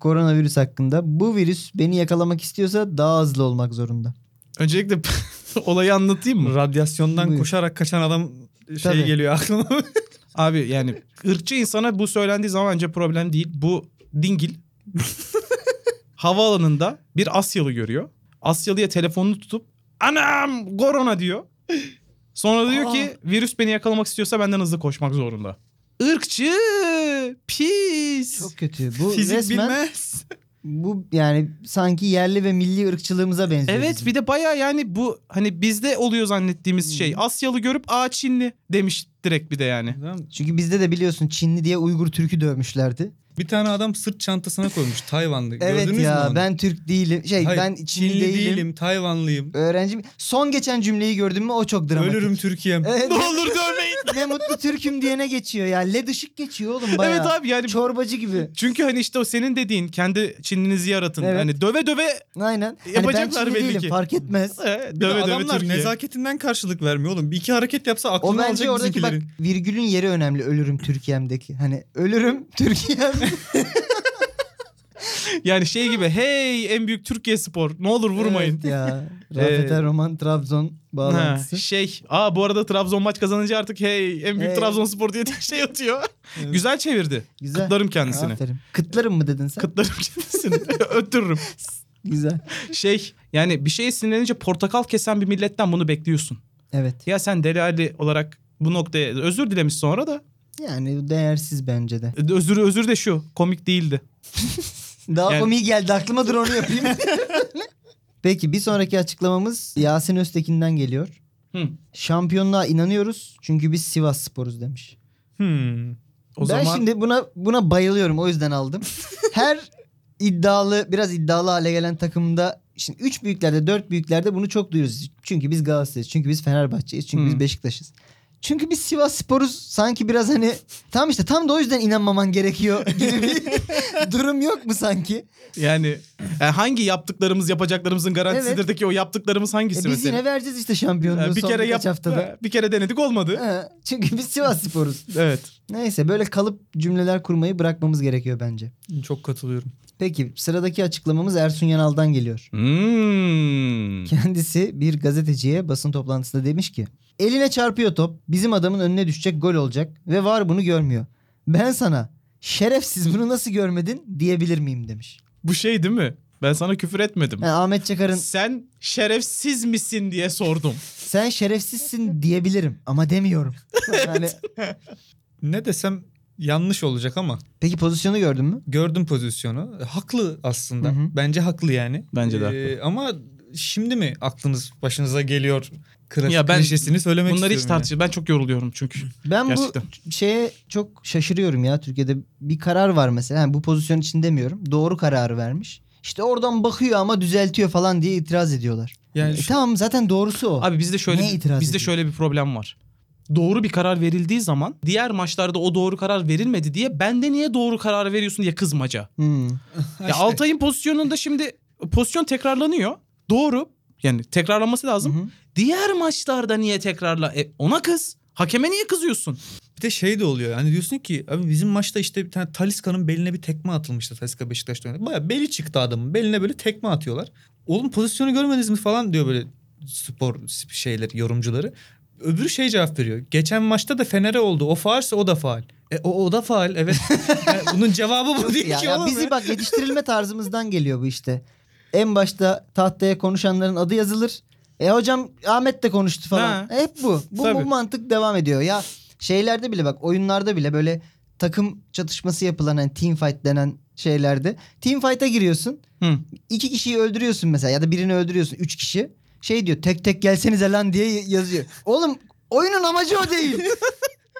koronavirüs hakkında bu virüs beni yakalamak istiyorsa daha hızlı olmak zorunda. Öncelikle olayı anlatayım mı? Radyasyondan Buyur. koşarak kaçan adam şey Tabii. geliyor aklıma. Abi yani ırkçı insana bu söylendiği zaman bence problem değil. Bu dingil havaalanında bir Asyalı görüyor. Asyalıya telefonunu tutup anam korona diyor. Sonra diyor ki virüs beni yakalamak istiyorsa benden hızlı koşmak zorunda. Irkçı pis. Çok kötü. Bu Fizik resmen bilmez. bu yani sanki yerli ve milli ırkçılığımıza benziyor. Evet bizim. bir de baya yani bu hani bizde oluyor zannettiğimiz şey. Asyalı görüp aa Çinli demiş direkt bir de yani. Çünkü bizde de biliyorsun Çinli diye Uygur Türk'ü dövmüşlerdi. Bir tane adam sırt çantasına koymuş Tayvanlı. evet E, Gördünüz mü ya onu? ben Türk değilim. Şey Hayır, ben Çinli, Çinli değilim. değilim, Tayvanlıyım. Öğrencim. Son geçen cümleyi gördün mü o çok dramatik. Ölürüm Türkiye'm. Evet, ne olur dövmeyin. ne mutlu Türk'üm diyene geçiyor ya. Led ışık geçiyor oğlum bayağı. Evet abi yani Çorbacı gibi. Çünkü hani işte o senin dediğin kendi Çinlinizi yaratın. Evet. Hani döve döve Aynen. Hani ben E, Yapacaklar Çinli belli değilim ki. fark etmez. e, Bir de döve döve adamlar Türkiye. nezaketinden karşılık vermiyor oğlum. Bir iki hareket yapsa O aklını bence alacak oradaki bak bizimkilerin. virgülün yeri önemli ölürüm Türkiye'mdeki. Hani ölürüm Türkiye'm. Yani şey gibi hey en büyük Türkiye spor ne olur vurmayın. Evet ya. Rafet Ee, Roman Trabzon Ha, bağlantısı. şey aa bu arada Trabzon maç kazanınca artık hey en büyük Hey. Trabzonspor diye şey atıyor. Evet. Güzel çevirdi. Güzel. Kutlarım kendisini. Aferin. Kıtlarım mı dedin sen? Kıtlarım kendisini. Öttürürüm. Güzel. Şey yani bir şeye sinirlenince portakal kesen bir milletten bunu bekliyorsun. Evet. Ya sen delali olarak bu noktaya özür dilemiş sonra da e, Yani bu değersiz bence de. özür özür de şu komik değildi. Daha Yani- komik geldi aklıma dur onu yapayım. Peki bir sonraki açıklamamız Yasin Öztekin'den geliyor. Hı. Şampiyonluğa inanıyoruz çünkü biz Sivas sporuz demiş. Hmm. O ben zaman şimdi buna buna bayılıyorum o yüzden aldım. Her iddialı biraz iddialı hale gelen takımda şimdi üç büyüklerde dört büyüklerde bunu çok duyuyoruz. Çünkü biz Galatasaray'ız. Çünkü biz Fenerbahçe'yiz. Çünkü Hmm. biz Beşiktaş'ız. Çünkü biz Sivas Spor'uz sanki biraz hani tam işte tam da o yüzden inanmaman gerekiyor gibi bir durum yok mu sanki? Yani e, hangi yaptıklarımız yapacaklarımızın garantisidir Evet. de ki o yaptıklarımız E hangisi biz mesela? yine vereceğiz işte E, şampiyonluğu bir son kere birkaç yap, haftada. e, bir kere denedik olmadı. Ha, çünkü biz Sivas Spor'uz. Evet. Neyse böyle kalıp cümleler kurmayı bırakmamız gerekiyor bence. Çok katılıyorum. Peki sıradaki açıklamamız Ersun Yanal'dan geliyor. Hmm. Kendisi bir gazeteciye basın toplantısında demiş ki eline çarpıyor top bizim adamın önüne düşecek gol olacak ve var bunu görmüyor. Ben sana şerefsiz bunu nasıl görmedin diyebilir miyim demiş. Bu şey değil mi? Ben sana küfür etmedim. Yani Ahmet Çakar'ın Sen şerefsiz misin diye sordum. sen şerefsizsin diyebilirim ama demiyorum. Yani, Ne desem yanlış olacak ama peki pozisyonu gördün mü? gördüm pozisyonu. Haklı aslında. Hı hı. Bence haklı yani. Bence de Ee, ama şimdi mi aklınız başınıza geliyor klasik Ya ben- klişesini söylemek Bunları hiç istiyorum. yani. tartış. Ben çok yoruluyorum çünkü. Ben Gerçekten. bu şeye çok şaşırıyorum ya Türkiye'de bir karar var mesela Yani bu pozisyon için demiyorum doğru kararı vermiş. İşte oradan bakıyor ama düzeltiyor falan diye itiraz ediyorlar. Yani E şu- tamam zaten doğrusu o. Abi bizde şöyle Neye itiraz bizde ediyorsun? şöyle bir problem var. Doğru bir karar verildiği zaman diğer maçlarda o doğru karar verilmedi diye bende niye doğru karar veriyorsun diye kızmaca. Hmm. Ha Ya işte. Altay'ın pozisyonunda şimdi pozisyon tekrarlanıyor. Doğru. Yani tekrarlanması lazım. Hı hı. Diğer maçlarda niye tekrarla? E, ona kız. Hakeme niye kızıyorsun? Bir de şey de oluyor. Hani diyorsun ki abi bizim maçta işte bir tane Taliska'nın beline bir tekme atılmıştı. Taliska Beşiktaş'ta oynadı. Baya beli çıktı adamın. Beline böyle tekme atıyorlar. Oğlum pozisyonu görmediniz mi falan diyor böyle spor sp- şeyleri yorumcuları. Öbürü şey cevap veriyor. Geçen maçta da Fener'e oldu. O faalse o da faal. E o, o da faal evet. Yani bunun cevabı bu değil Ya, ki ya oğlum. bizi bak yetiştirilme tarzımızdan geliyor bu işte. En başta tahtaya konuşanların adı yazılır. E hocam Ahmet de konuştu falan. Ha. Hep bu. Bu, bu Tabii. mantık devam ediyor. Ya şeylerde bile bak oyunlarda bile böyle takım çatışması yapılan hani team fight denen şeylerde team fight'a giriyorsun. Hı. iki kişiyi öldürüyorsun mesela ya da birini öldürüyorsun. Üç kişi şey diyor tek tek gelsenize lan diye yazıyor. Oğlum oyunun amacı o değil.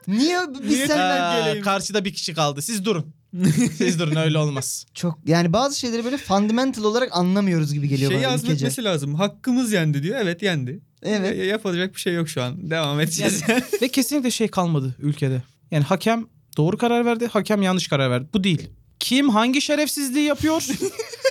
Niye biz Niye- senden Aa, geleyim. karşıda bir kişi kaldı. Siz durun. Siz durun öyle olmaz. çok yani bazı şeyleri böyle fundamental olarak anlamıyoruz gibi geliyor Şey Şeyi bana ülkece. azmetmesi lazım. Hakkımız yendi diyor. Evet yendi. Evet. Ya- Yapılacak bir şey yok şu an. Devam edeceğiz. Ve kesinlikle şey kalmadı ülkede. Yani hakem doğru karar verdi, hakem yanlış karar verdi. Bu değil. Kim hangi şerefsizliği yapıyor?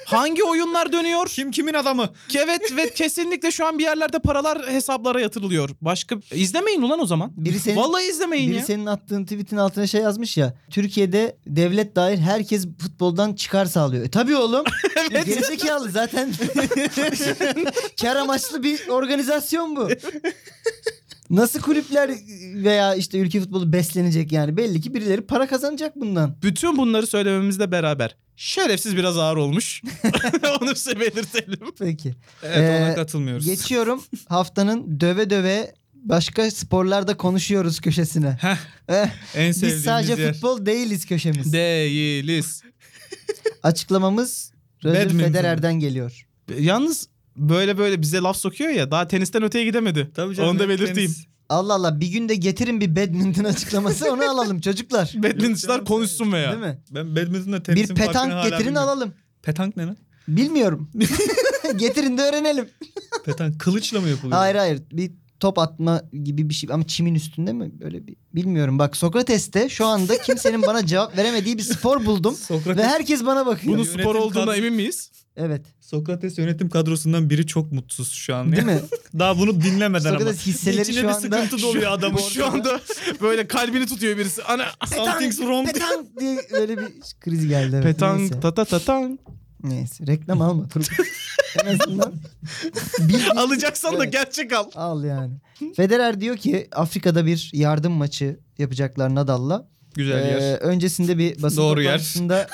hangi oyunlar dönüyor? Kim kimin adamı? Evet ve kesinlikle şu an bir yerlerde paralar hesaplara yatırılıyor. Başka izlemeyin ulan o zaman. Biri senin- Vallahi izlemeyin Biri ya. senin attığın tweetin altına şey yazmış ya. Türkiye'de devlet dahil herkes futboldan çıkar sağlıyor. E tabii oğlum. evet. Gerizekalı zaten. Kar amaçlı bir organizasyon bu. Nasıl kulüpler veya işte ülke futbolu beslenecek yani belli ki birileri para kazanacak bundan. Bütün bunları söylememizle beraber şerefsiz biraz ağır olmuş. Onu size belirtelim. Peki. Evet ona Ee, katılmıyoruz. Geçiyorum haftanın döve döve başka sporlarda konuşuyoruz köşesine. Heh, Eh, en Biz sevdiğimiz sadece yer. futbol değiliz köşemiz. Değiliz. Açıklamamız Roger Badminton. Federer'den geliyor. Yalnız böyle böyle bize laf sokuyor ya daha tenisten öteye gidemedi. Tabii canım, Onu da hep belirteyim. tenis. Allah Allah bir gün de getirin bir badminton açıklaması onu alalım çocuklar. Badmintoncular canım, konuşsun veya. Değil mi? Ben badmintonla Bir tenisin farkını petank hala getirin bilmiyorum. alalım. Petank ne lan? Bilmiyorum. getirin de öğrenelim. Petank kılıçla mı yapılıyor? Hayır hayır bir top atma gibi bir şey ama çimin üstünde mi böyle bir bilmiyorum. Bak Sokrates'te şu anda kimsenin bana cevap veremediği bir spor buldum Sokrates, ve herkes bana bakıyor. Bunun Yönetim spor olduğuna kadro- emin miyiz? Evet. Sokrates yönetim kadrosundan biri çok mutsuz şu an. Değil ya. mi? Daha bunu dinlemeden ama. Sokrates hisseleri İçine şu bir anda sıkıntı doluyor adamın. Şu anda böyle kalbini tutuyor birisi. Ana Something's wrong. petank diye böyle bir kriz geldi. Evet. Neyse. Petang tata tatang. Neyse reklam alma Turgut. en azından bildiğin- Alacaksan da Evet. gerçek al. Al yani. Federer diyor ki Afrika'da bir yardım maçı yapacaklar Nadal'la. Güzel Ee, yer. öncesinde bir basın Doğru yer. toplantısında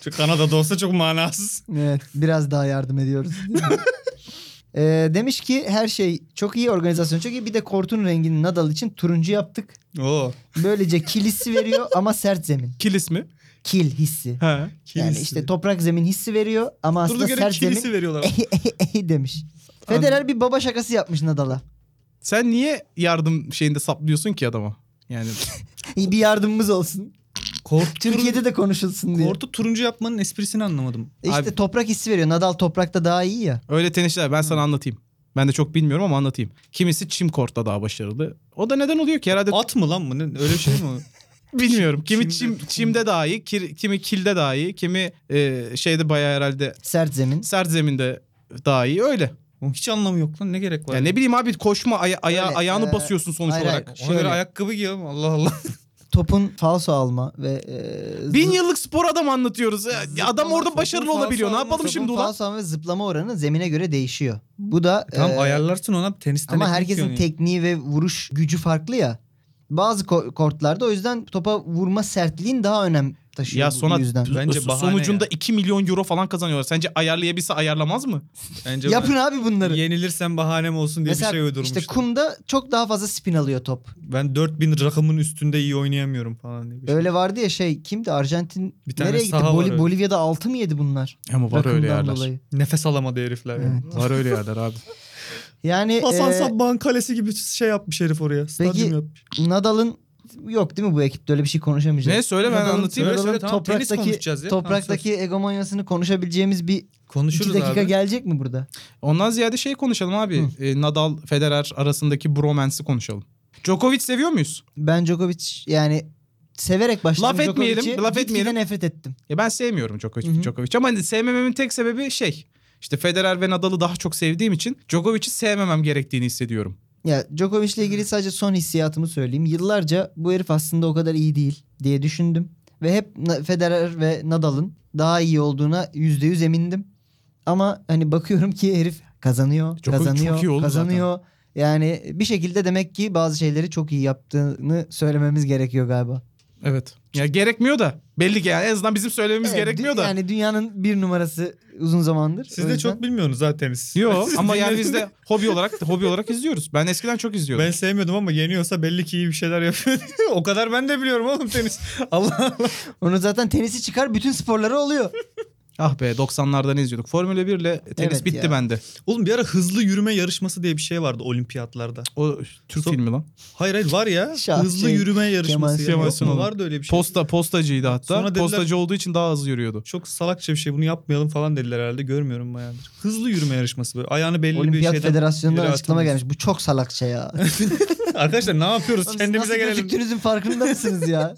Çünkü Kanada'da olsa çok manasız. evet, biraz daha yardım ediyoruz. Ee, demiş ki her şey çok iyi organizasyon çok iyi bir de kortun rengini Nadal için turuncu yaptık. Oo. Böylece kil hissi veriyor ama sert zemin. Kilis mi? Kil hissi. He. Yani işte toprak zemin hissi veriyor ama aslında Durduk yere sert zemin kilisi veriyorlar. demiş. Federer bir baba şakası yapmış Nadal'a. Sen niye yardım şeyinde saplıyorsun ki adama? Yani İyi bir yardımımız olsun. Kort, Türkiye'de de konuşulsun diye. Kortu turuncu yapmanın esprisini anlamadım. E İşte Abi- toprak hissi veriyor. Nadal toprakta daha iyi ya. öyle tenisçiler ben Hmm. sana anlatayım. Ben de çok bilmiyorum ama anlatayım. Kimisi çim kortta daha başarılı. O da neden oluyor ki herhalde At mı lan bu? Ne- Öyle bir şey mi? o? bilmiyorum. Kimi Çimde- çim, çimde daha iyi, kir- kimi kilde daha iyi, kimi e, şeyde bayağı herhalde Sert zemin. sert zeminde daha iyi öyle. Oğlum Hiç anlamı yok lan. Ne gerek var? Ya ne bileyim abi koşma aya, aya- Öyle, ayağını e, basıyorsun sonuç hayır, olarak. hayır. Ona göre Şöyle. ayakkabı giyelim. Allah Allah. Topun falso alma ve e, Bin zıp- yıllık spor adam anlatıyoruz. Ya Zıplama, Adam orada topun başarılı falso olabiliyor. Ne alma, yapalım topun şimdi topun ulan? falso alma ve zıplama oranı zemine göre değişiyor. Bu da Tamam e, ayarlarsın ona tenisten. ama ekmek herkesin yiyorsun tekniği ve vuruş gücü farklı ya. Bazı ko- kortlarda o yüzden topa vurma sertliğin daha önem taşıyor Ya şey bu sonra yüzden. Bence so- bahane sonucunda ya. 2 milyon euro falan kazanıyorlar. Sence ayarlayabilse ayarlamaz mı? yani. Bence Yapın abi bunları. Yenilirsen bahanem olsun diye bir şey Mesela uydurmuştum. işte kumda çok daha fazla spin alıyor top. Ben 4000 rakımın üstünde iyi oynayamıyorum falan diye. bir şey. Öyle vardı ya şey kimdi Arjantin Bir tane nereye gitti? saha var Boli- öyle. Bolivya'da 6 mı yedi bunlar? Ama Rakımdan dolayı. Nefes alamadı herifler. yani. Var öyle yerler abi. Yani Hasan e, Sabbah'ın kalesi gibi şey yapmış herif oraya. Stadyum Peki- yapmış. Nadal'ın yok değil mi bu ekipte öyle bir şey konuşamayacağız. Ne söyle ben Nadal'ın- anlatayım. Söyle, Nadal'ın söyle, tamam, tenis topraktaki konuşacağız ya. topraktaki egomanyasını konuşabileceğimiz bir Konuşuruz iki dakika abi. gelecek mi burada? Ondan ziyade şey konuşalım abi. E, Nadal, Federer arasındaki bromance'i konuşalım. Djokovic seviyor muyuz? Ben Djokovic yani severek başladım Laf etmeyelim, Djokovic'i. laf Gitgide etmeyelim. nefret ettim. Ya ben sevmiyorum Djokovic, Hı hı. Djokovic. ama hani sevmememin tek sebebi şey. İşte Federer ve Nadal'ı daha çok sevdiğim için Djokovic'i sevmemem gerektiğini hissediyorum. Ya Djokovic'le ilgili sadece son hissiyatımı söyleyeyim. Yıllarca bu herif aslında o kadar iyi değil diye düşündüm. Ve hep Na- Federer ve Nadal'ın daha iyi olduğuna %100 emindim. Ama hani bakıyorum ki herif kazanıyor, Djokovic kazanıyor, çok iyi oldu kazanıyor. Yani bir şekilde demek ki bazı şeyleri çok iyi yaptığını söylememiz gerekiyor galiba. Evet. Ya gerekmiyor da. Belli ki yani en azından bizim söylememiz Evet, gerekmiyor da. Yani dünyanın bir numarası uzun zamandır. Siz O de yüzden- çok bilmiyorsunuz zaten. Siz- Yo Siz ama yani dinlediniz biz de hobi olarak hobi olarak izliyoruz. Ben eskiden çok izliyordum. Ben sevmiyordum ama yeniyorsa belli ki iyi bir şeyler yapıyor. o kadar ben de biliyorum oğlum tenis. Allah Allah. Onu zaten tenisi çıkar bütün sporları oluyor. Ah be 90'lardan izliyorduk. Formula 1 ile tenis Evet bitti ya. bende. Oğlum bir ara hızlı yürüme yarışması diye bir şey vardı olimpiyatlarda. O Türk So- filmi lan. Hayır hayır var ya. Şah- hızlı şey, yürüme yarışması. Kemal ya. Yok Sunal. mu? Vardı öyle bir şey. Posta postacıydı hatta. Sonra dediler- Postacı olduğu için daha hızlı yürüyordu. Çok salakça bir şey bunu yapmayalım falan dediler herhalde. Görmüyorum bayağıdır. Hızlı yürüme yarışması böyle. Ayağını belli Olimpiyat bir şeyden. Federasyonu'ndan yere açıklama atamıyorsun. gelmiş. Bu çok salakça ya. Arkadaşlar ne yapıyoruz? Oğlum siz Kendimize nasıl gelelim. gözüktüğünüzün farkında mısınız ya?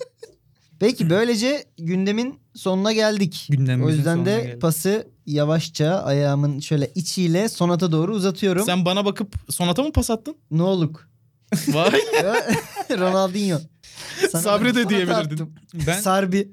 Peki böylece gündemin sonuna geldik. Gündemimizin o yüzden sonuna de geldik. pası yavaşça ayağımın şöyle içiyle sonata doğru uzatıyorum. Sen bana bakıp sonata mı pas attın? Ne oluk? Vay. Ronaldinho. Sana- Sabri de Sonata diyebilirdin. attım. Ben Sarbi.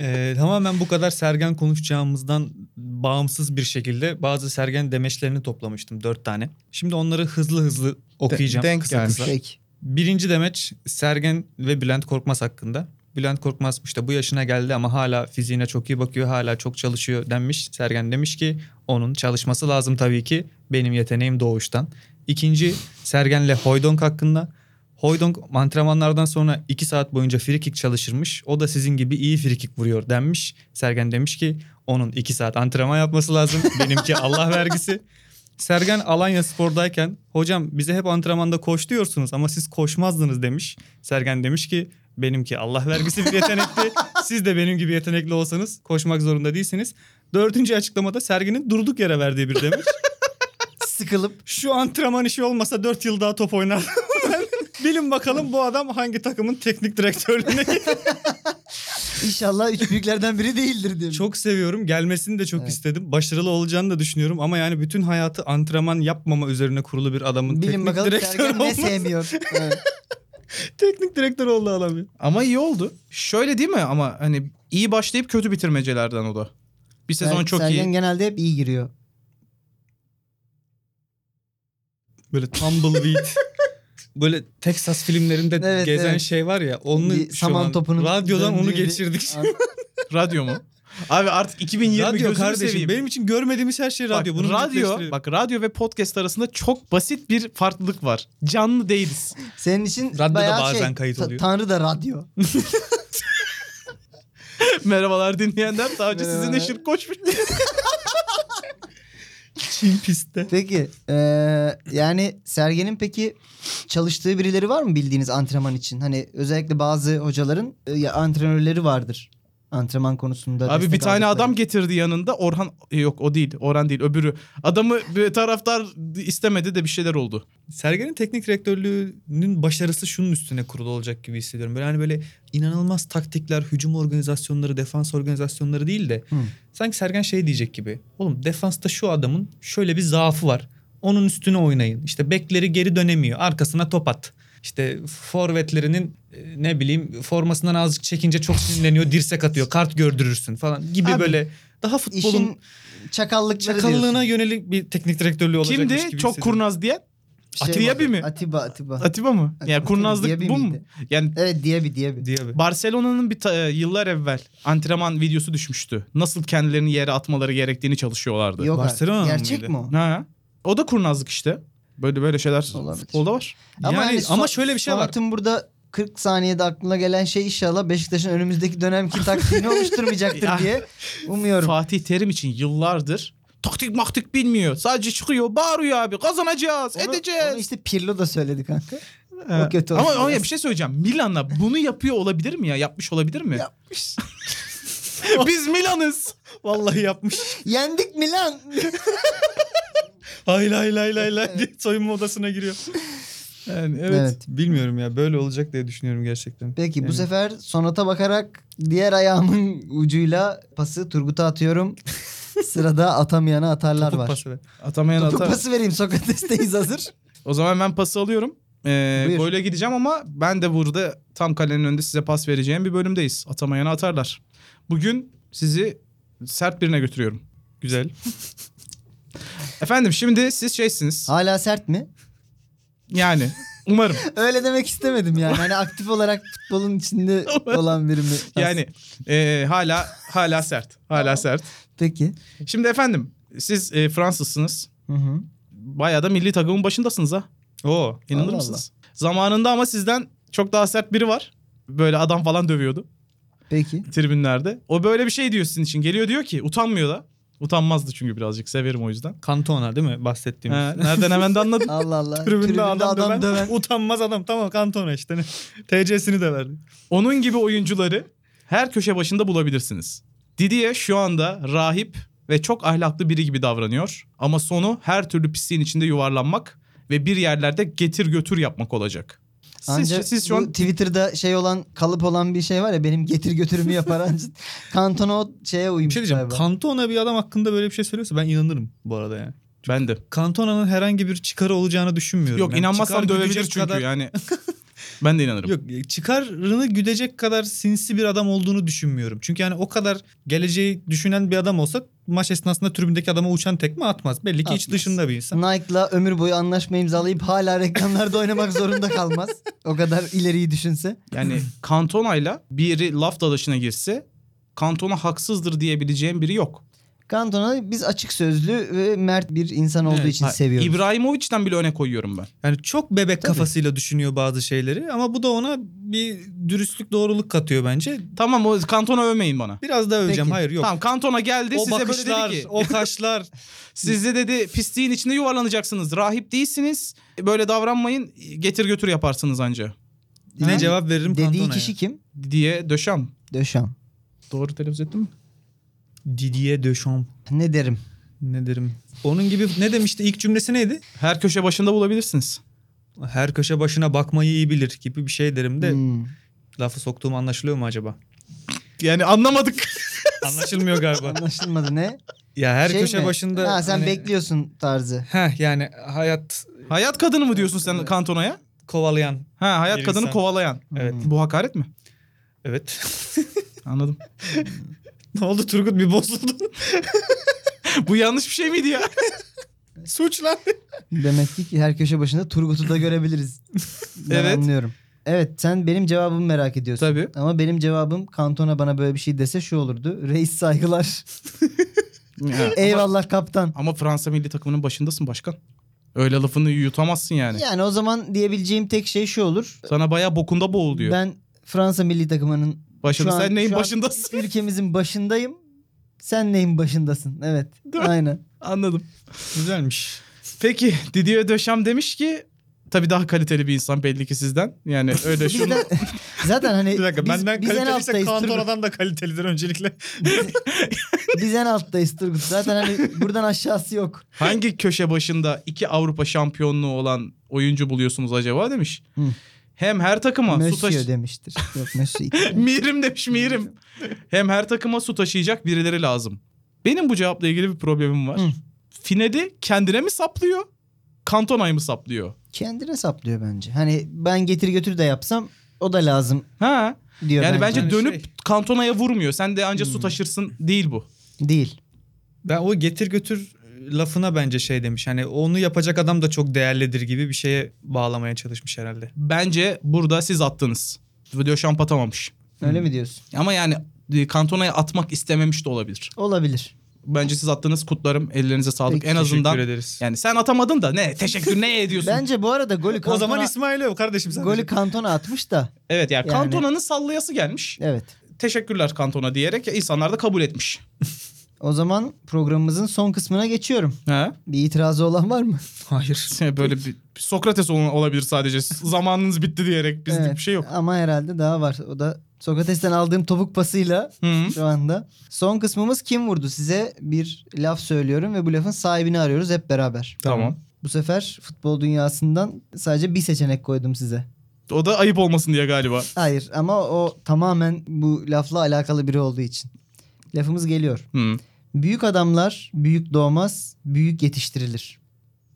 Ee, tamamen bu kadar sergen konuşacağımızdan bağımsız bir şekilde bazı sergen demeçlerini toplamıştım dört tane. Şimdi onları hızlı hızlı okuyacağım. denk kısa gelmiş. kısa. Peki. Birinci demeç Sergen ve Bülent Korkmaz hakkında. Bülent Korkmaz işte bu yaşına geldi ama hala fiziğine çok iyi bakıyor, hala çok çalışıyor denmiş. Sergen demiş ki onun çalışması lazım tabii ki. Benim yeteneğim doğuştan. İkinci Sergen'le Hoydonk hakkında. Hoydonk antrenmanlardan sonra 2 saat boyunca frikik çalışırmış. O da sizin gibi iyi frikik vuruyor denmiş. Sergen demiş ki onun 2 saat antrenman yapması lazım. Benimki Allah vergisi. Sergen Alanya Spor'dayken hocam bize hep antrenmanda koş diyorsunuz ama siz koşmazdınız demiş. Sergen demiş ki benimki Allah vergisi bir yetenekti. Siz de benim gibi yetenekli olsanız koşmak zorunda değilsiniz. Dördüncü açıklamada Sergen'in durduk yere verdiği bir demiş. Sıkılıp Şu antrenman işi olmasa 4 yıl daha top oynar. Bilin bakalım bu adam hangi takımın teknik direktörlüğüne inşallah üç büyüklerden biri değildir diye. Çok seviyorum. Gelmesini de çok Evet. istedim. Başarılı olacağını da düşünüyorum ama yani bütün hayatı antrenman yapmama üzerine kurulu bir adamın Bilin teknik bakalım direktör Sergen ne olması. sevmiyor. Evet. teknik direktör oldu adam ya. Ama iyi oldu. Şöyle değil mi ama hani iyi başlayıp kötü bitirmecelerden o da. Bir sezon Ser- çok Sergen iyi. genelde hep iyi giriyor. Böyle tumbleweed. Böyle Texas filmlerinde Evet, gezen evet. şey var ya onu Bir şu saman an topunun radyodan onu döndüğü bir- geçirdik. An- Radyo mu? Abi artık 2020 radyo gözünü kardeşim seveyim. benim için görmediğimiz her şey radyo. Bak, Bunu radyo, netleştirelim. bak radyo ve podcast arasında çok basit bir farklılık var. Canlı değiliz. Senin için Radyoda bayağı bazen şey, kayıt ta- oluyor. Tanrı da radyo. Merhabalar dinleyenler. Daha önce sizinle Merhabalar. şirk koşmuş. Çin pistte. Peki eee, yani Sergen'in peki çalıştığı birileri var mı bildiğiniz antrenman için? Hani özellikle bazı hocaların e, ya antrenörleri vardır antrenman konusunda. Abi bir destek tane aldıkları. adam getirdi yanında. Orhan yok o değil. Orhan değil öbürü. Adamı bir taraftar istemedi de bir şeyler oldu. Sergen'in teknik direktörlüğünün başarısı şunun üstüne kurulu olacak gibi hissediyorum. Böyle hani böyle inanılmaz taktikler, hücum organizasyonları, defans organizasyonları değil de Hı. sanki Sergen şey diyecek gibi. Oğlum defansta şu adamın şöyle bir zaafı var. Onun üstüne oynayın. İşte bekleri geri dönemiyor. Arkasına top at. İşte forvetlerinin e, ne bileyim formasından azıcık çekince çok sinirleniyor, dirsek atıyor, kart gördürürsün falan gibi Abi, böyle daha futbolun İşin çakallıkları çakallığına diyorsun. yönelik bir teknik direktörlüğü olacakmış gibi Kimdi? Çok hissediyorum. kurnaz diye. Şey Atiye vardı, bir mi? Atiba Atiba. Atiba mı? Atiba, Yani kurnazlık Diaby bu mu? miydi? Yani Evet Diaby Diaby. diye bir. Barcelona'nın bir ta- e, yıllar evvel antrenman videosu düşmüştü. Nasıl kendilerini yere atmaları gerektiğini çalışıyorlardı. Yok artık. Barcelona'nın Gerçek mıydı? mi o? Ha. O da kurnazlık işte. Böyle böyle şeyler Olabilir. futbolda var. Ama, yani, hani ama son- şöyle bir şey var. Sonat'ın burada 40 saniyede aklına gelen şey inşallah Beşiktaş'ın önümüzdeki dönemki taktiğini oluşturmayacaktır diye umuyorum. Fatih Terim için yıllardır taktik maktik bilmiyor. Sadece çıkıyor bağırıyor abi kazanacağız Onu- edeceğiz. Onu işte Pirlo da söyledi kanka. Ee, o kötü ama oldu ama biraz. bir şey söyleyeceğim. Milan'a bunu yapıyor olabilir mi ya? Yapmış olabilir mi? Yapmış. Biz Milan'ız. Vallahi yapmış. Yendik Milan. Hayla hayla hayla hayla diye soyunma odasına giriyor. Yani evet. Evet. Bilmiyorum ya böyle olacak diye düşünüyorum gerçekten. Peki bu Yani sefer sonata bakarak diğer ayağımın ucuyla pası Turgut'a atıyorum. Sırada atamayana atarlar topuk var. pası ver. Atamayan Topuk atar. pası vereyim Sokrates'teyiz hazır. O zaman ben pası alıyorum. Ee, Buyur. goyle gideceğim ama ben de burada tam kalenin önünde size pas vereceğim bir bölümdeyiz. Atamayana atarlar. Bugün sizi sert birine götürüyorum. Güzel. Efendim şimdi siz şeysiniz. Hala sert mi? Yani Umarım. Öyle demek istemedim yani. Hani aktif olarak futbolun içinde olan biri mi? Yani e, hala hala sert. Hala sert. Peki. Şimdi efendim siz e, Fransızsınız. Hı hı. Bayağı da milli takımın başındasınız ha. Oo. İnanır Allah mısınız? Zamanında ama sizden çok daha sert biri var. Böyle adam falan dövüyordu Peki. tribünlerde. O böyle bir şey diyor sizin için. Geliyor diyor ki utanmıyor da. Utanmazdı çünkü birazcık severim o yüzden. Kantona değil mi bahsettiğimiz? Ha, nereden hemen de anladın. Allah Allah. Tribünde, Tribünde adam, döven, Utanmaz adam. Tamam Kantona işte. Ne? TC'sini de verdi. Onun gibi oyuncuları her köşe başında bulabilirsiniz. Didier şu anda rahip ve çok ahlaklı biri gibi davranıyor. Ama sonu her türlü pisliğin içinde yuvarlanmak ve bir yerlerde getir götür yapmak olacak. Siz, Anca siz şu bu an Twitter'da şey olan kalıp olan bir şey var ya benim getir götürümü yapar anca. Kantona o şeye Bir uymuş şey diyeceğim. galiba. Kantona bir adam hakkında böyle bir şey söylüyorsa ben inanırım bu arada yani. ben de. Kantona'nın herhangi bir çıkarı olacağını düşünmüyorum. Yok Yani inanmazsam çıkar dövebilir güdecek çünkü kadar- yani. ben de inanırım. Yok çıkarını güdecek kadar sinsi bir adam olduğunu düşünmüyorum. Çünkü yani o kadar geleceği düşünen bir adam olsa maç esnasında tribündeki adama uçan tekme atmaz. Belli ki iç Atmaz. dışında bir insan. Nike'la ömür boyu anlaşma imzalayıp hala reklamlarda oynamak zorunda kalmaz. O kadar ileriyi düşünse. Yani Kantona'yla biri laf dalaşına girse Kantona haksızdır diyebileceğim biri yok. Kantona biz açık sözlü ve mert bir insan olduğu Evet, için ha, seviyoruz. İbrahimovic'den bile öne koyuyorum ben. Yani çok bebek kafasıyla düşünüyor bazı şeyleri ama bu da ona bir dürüstlük doğruluk katıyor bence. Tamam o Kantona övmeyin bana. Biraz daha öveceğim. Peki. Hayır yok. Tamam Kantona geldi O size şey bakışlar, böyle dedi ki o kaşlar. Sizde dedi pisliğin içinde yuvarlanacaksınız. Rahip değilsiniz. Böyle davranmayın. Getir götür yaparsınız anca. Ne cevap veririm Dediği Kantona'ya? kişi kim? Diye döşem. Döşam. Doğru telaffuz ettim mi? Didier Deschamps. Ne derim? Ne derim? Onun gibi ne demişti? İlk cümlesi neydi? Her köşe başında bulabilirsiniz. Her köşe başına bakmayı iyi bilir gibi bir şey derim de Hmm. lafı soktuğum anlaşılıyor mu acaba? Yani anlamadık. Anlaşılmıyor galiba. Anlaşılmadı ne? ya her Şey köşe mi? başında Ha, sen hani- bekliyorsun tarzı. Heh, yani hayat hayat kadını mı diyorsun sen Kantona'ya? kovalayan. Ha hayat Bir kadını insan. kovalayan. Evet. Bu hakaret mi? Evet. Anladım. ne oldu Turgut bir bozuldun? Bu yanlış bir şey miydi ya? Suçlan. Demek ki her köşe başında Turgut'u da görebiliriz. Ben Evet. anlıyorum. Evet sen benim cevabımı merak ediyorsun. E, Tabii. Ama benim cevabım Kantona bana böyle bir şey dese şu olurdu. Reis saygılar. Eyvallah kaptan. Ama Fransa milli takımının başındasın başkan. Öyle lafını yutamazsın yani. Yani o zaman diyebileceğim tek şey şu olur. Sana bayağı bokunda boğul diyor. Ben Fransa milli takımının Başında şu an- sen neyin şu an başındasın? ülkemizin başındayım. Sen neyin başındasın? Evet. Değil mi? Aynen. Anladım. Güzelmiş. Peki Didier Deschamps demiş ki tabii daha kaliteli bir insan belli ki sizden. Yani öyle şunu Bizden- zaten hani Bir dakika biz, benden biz en kaliteliyse alttayız. Turgut. Kantona'dan da kalitelidir öncelikle. Biz en alttayız Turgut. Zaten hani buradan aşağısı yok. hangi köşe başında iki Avrupa şampiyonluğu olan oyuncu buluyorsunuz acaba demiş. Hı. Hem her takıma su Monsieur taşı... demiştir. Yok Monsieur. değil. Mirim demiş mirim. Hem her takıma su taşıyacak birileri lazım. Benim bu cevapla ilgili bir problemim var. Hı. Finedi kendine mi saplıyor? Kantona'yı mı saplıyor? Kendine saplıyor bence. Hani ben getir götür de yapsam o da lazım Ha. diyor Yani bence Yani dönüp şey- Hmm. Kantona'ya vurmuyor. Sen de anca su taşırsın değil bu. Değil. Ben o getir götür lafına bence şey demiş. Hani onu yapacak adam da çok değerlidir gibi bir şeye bağlamaya çalışmış herhalde. Bence burada siz attınız. Döşamp atamamış. Öyle mi diyorsun? Ama yani e, Kantona'ya atmak istememiş de olabilir. Olabilir. Bence siz attınız kutlarım. Ellerinize sağlık. Peki, en azından Teşekkür ederiz. yani sen atamadın da ne teşekkür ne ediyorsun? Bence bu arada golü kantona, o zaman İsmail yok kardeşim sen. golü kantona atmış da. evet ya Yani- Kantona'nın sallayası gelmiş. Evet. Teşekkürler Kantona diyerek insanlar da kabul etmiş. O zaman programımızın son kısmına geçiyorum. Ha? Bir itirazı olan var mı? Hayır. Böyle bir bir Sokrates olan olabilir sadece. Zamanınız bitti diyerek bizlik Evet. bir şey yok. Ama herhalde daha var. O da Sokrates'ten aldığım topuk pasıyla Hı. şu anda. Son kısmımız kim vurdu? Size bir laf söylüyorum ve bu lafın sahibini arıyoruz hep beraber. Tamam. Bu sefer futbol dünyasından sadece bir seçenek koydum size. O da ayıp olmasın diye galiba. Hayır ama o tamamen bu lafla alakalı biri olduğu için. Lafımız geliyor. Hı. Büyük adamlar büyük doğmaz, büyük yetiştirilir.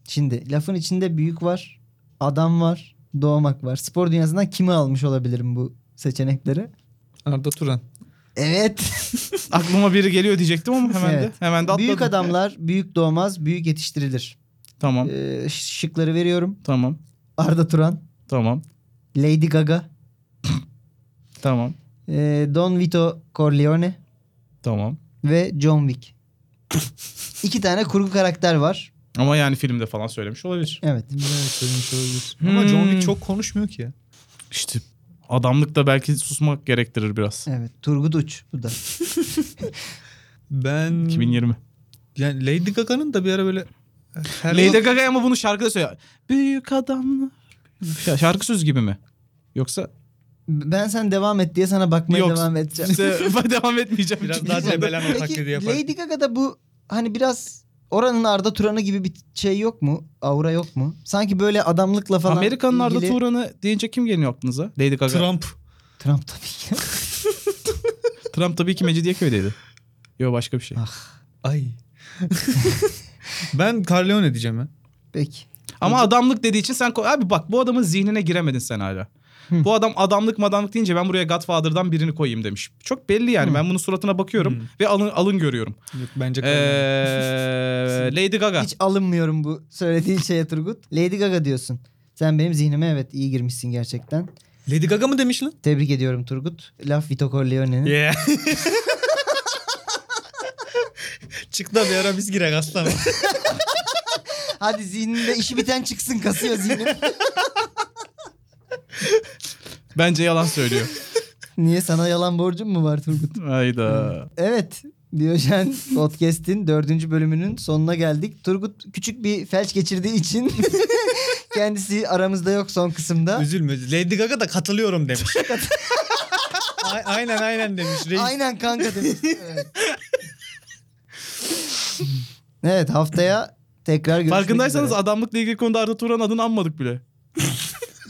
Şimdi lafın içinde büyük var, adam var, doğmak var. Spor dünyasından kimi almış olabilirim bu seçenekleri? Arda Turan. Evet. Aklıma biri geliyor diyecektim ama hemen Evet. de hemen de atladım. büyük adamlar büyük doğmaz, büyük yetiştirilir. Tamam. Ee, şıkları veriyorum. Tamam. Arda Turan, Tamam. Lady Gaga, Tamam. e, Don Vito Corleone Tamam. ve John Wick. İki tane kurgu karakter var. Ama yani filmde falan söylemiş olabilir. Evet. Ama John Hmm. Wick çok konuşmuyor ki ya. İşte adamlık da belki susmak gerektirir biraz. Evet. Turgut Uç bu da. Ben 2020. yani Lady Gaga'nın da bir ara böyle her Lady Gaga ama bunu şarkıda söylüyor. Büyük adamlar. Ya şarkı söz gibi mi? Yoksa Ben sen devam et diye sana bakmaya Yok. devam edeceğim. işte devam etmeyeceğim. Biraz daha debelenme taklidi yapar. Lady Gaga'da bu hani biraz oranın Arda Turan'ı gibi bir şey yok mu? Aura yok mu? Sanki böyle adamlıkla falan Amerikan'ın Arda ilgili- Turan'ı deyince kim geliyor aklınıza? Lady Gaga. Trump, Trump Trump tabii ki. tabii ki Mecidiyeköy'deydi. Yok başka bir şey. ay. ben Corleone diyeceğim ya. Peki. Ama adamlık dediği için sen... ko- Abi bak bu adamın zihnine giremedin sen hala. Hı. Bu adam adamlık madamlık deyince ben buraya Godfather'dan birini koyayım demiş. Çok belli yani. Hı. Ben bunun suratına bakıyorum Hı. ve alın alın görüyorum. Yok bence Corleone. Ee, Lady Gaga. Hiç alınmıyorum bu söylediğin şeye Turgut. Lady Gaga diyorsun. Sen benim zihnime evet iyi girmişsin gerçekten. Lady Gaga mı demiş lan? Tebrik ediyorum Turgut. Laf Vito Corleone'nin. Yeah. Çık da bir ara biz girek aslanım. Hadi zihninde işi biten çıksın kasıyor zihnim. Bence yalan söylüyor. Niye sana yalan borcum mu var Turgut? Hayda. Evet. Diyojen Podcast'in dördüncü bölümünün sonuna geldik. Turgut küçük bir felç geçirdiği için kendisi aramızda yok son kısımda. Üzülme. Lady Gaga da katılıyorum demiş. A- aynen aynen demiş. Reis. Aynen kanka demiş. Evet. evet haftaya tekrar görüşmek Farkındaysanız üzere. adamlıkla ilgili konuda Arda Turan adını anmadık bile.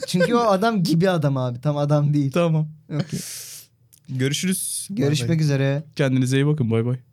Çünkü o adam gibi adam abi. Tam adam değil. Tamam. Okey. Görüşürüz. Bay bay. Görüşmek üzere. Kendinize iyi bakın. Bay bay.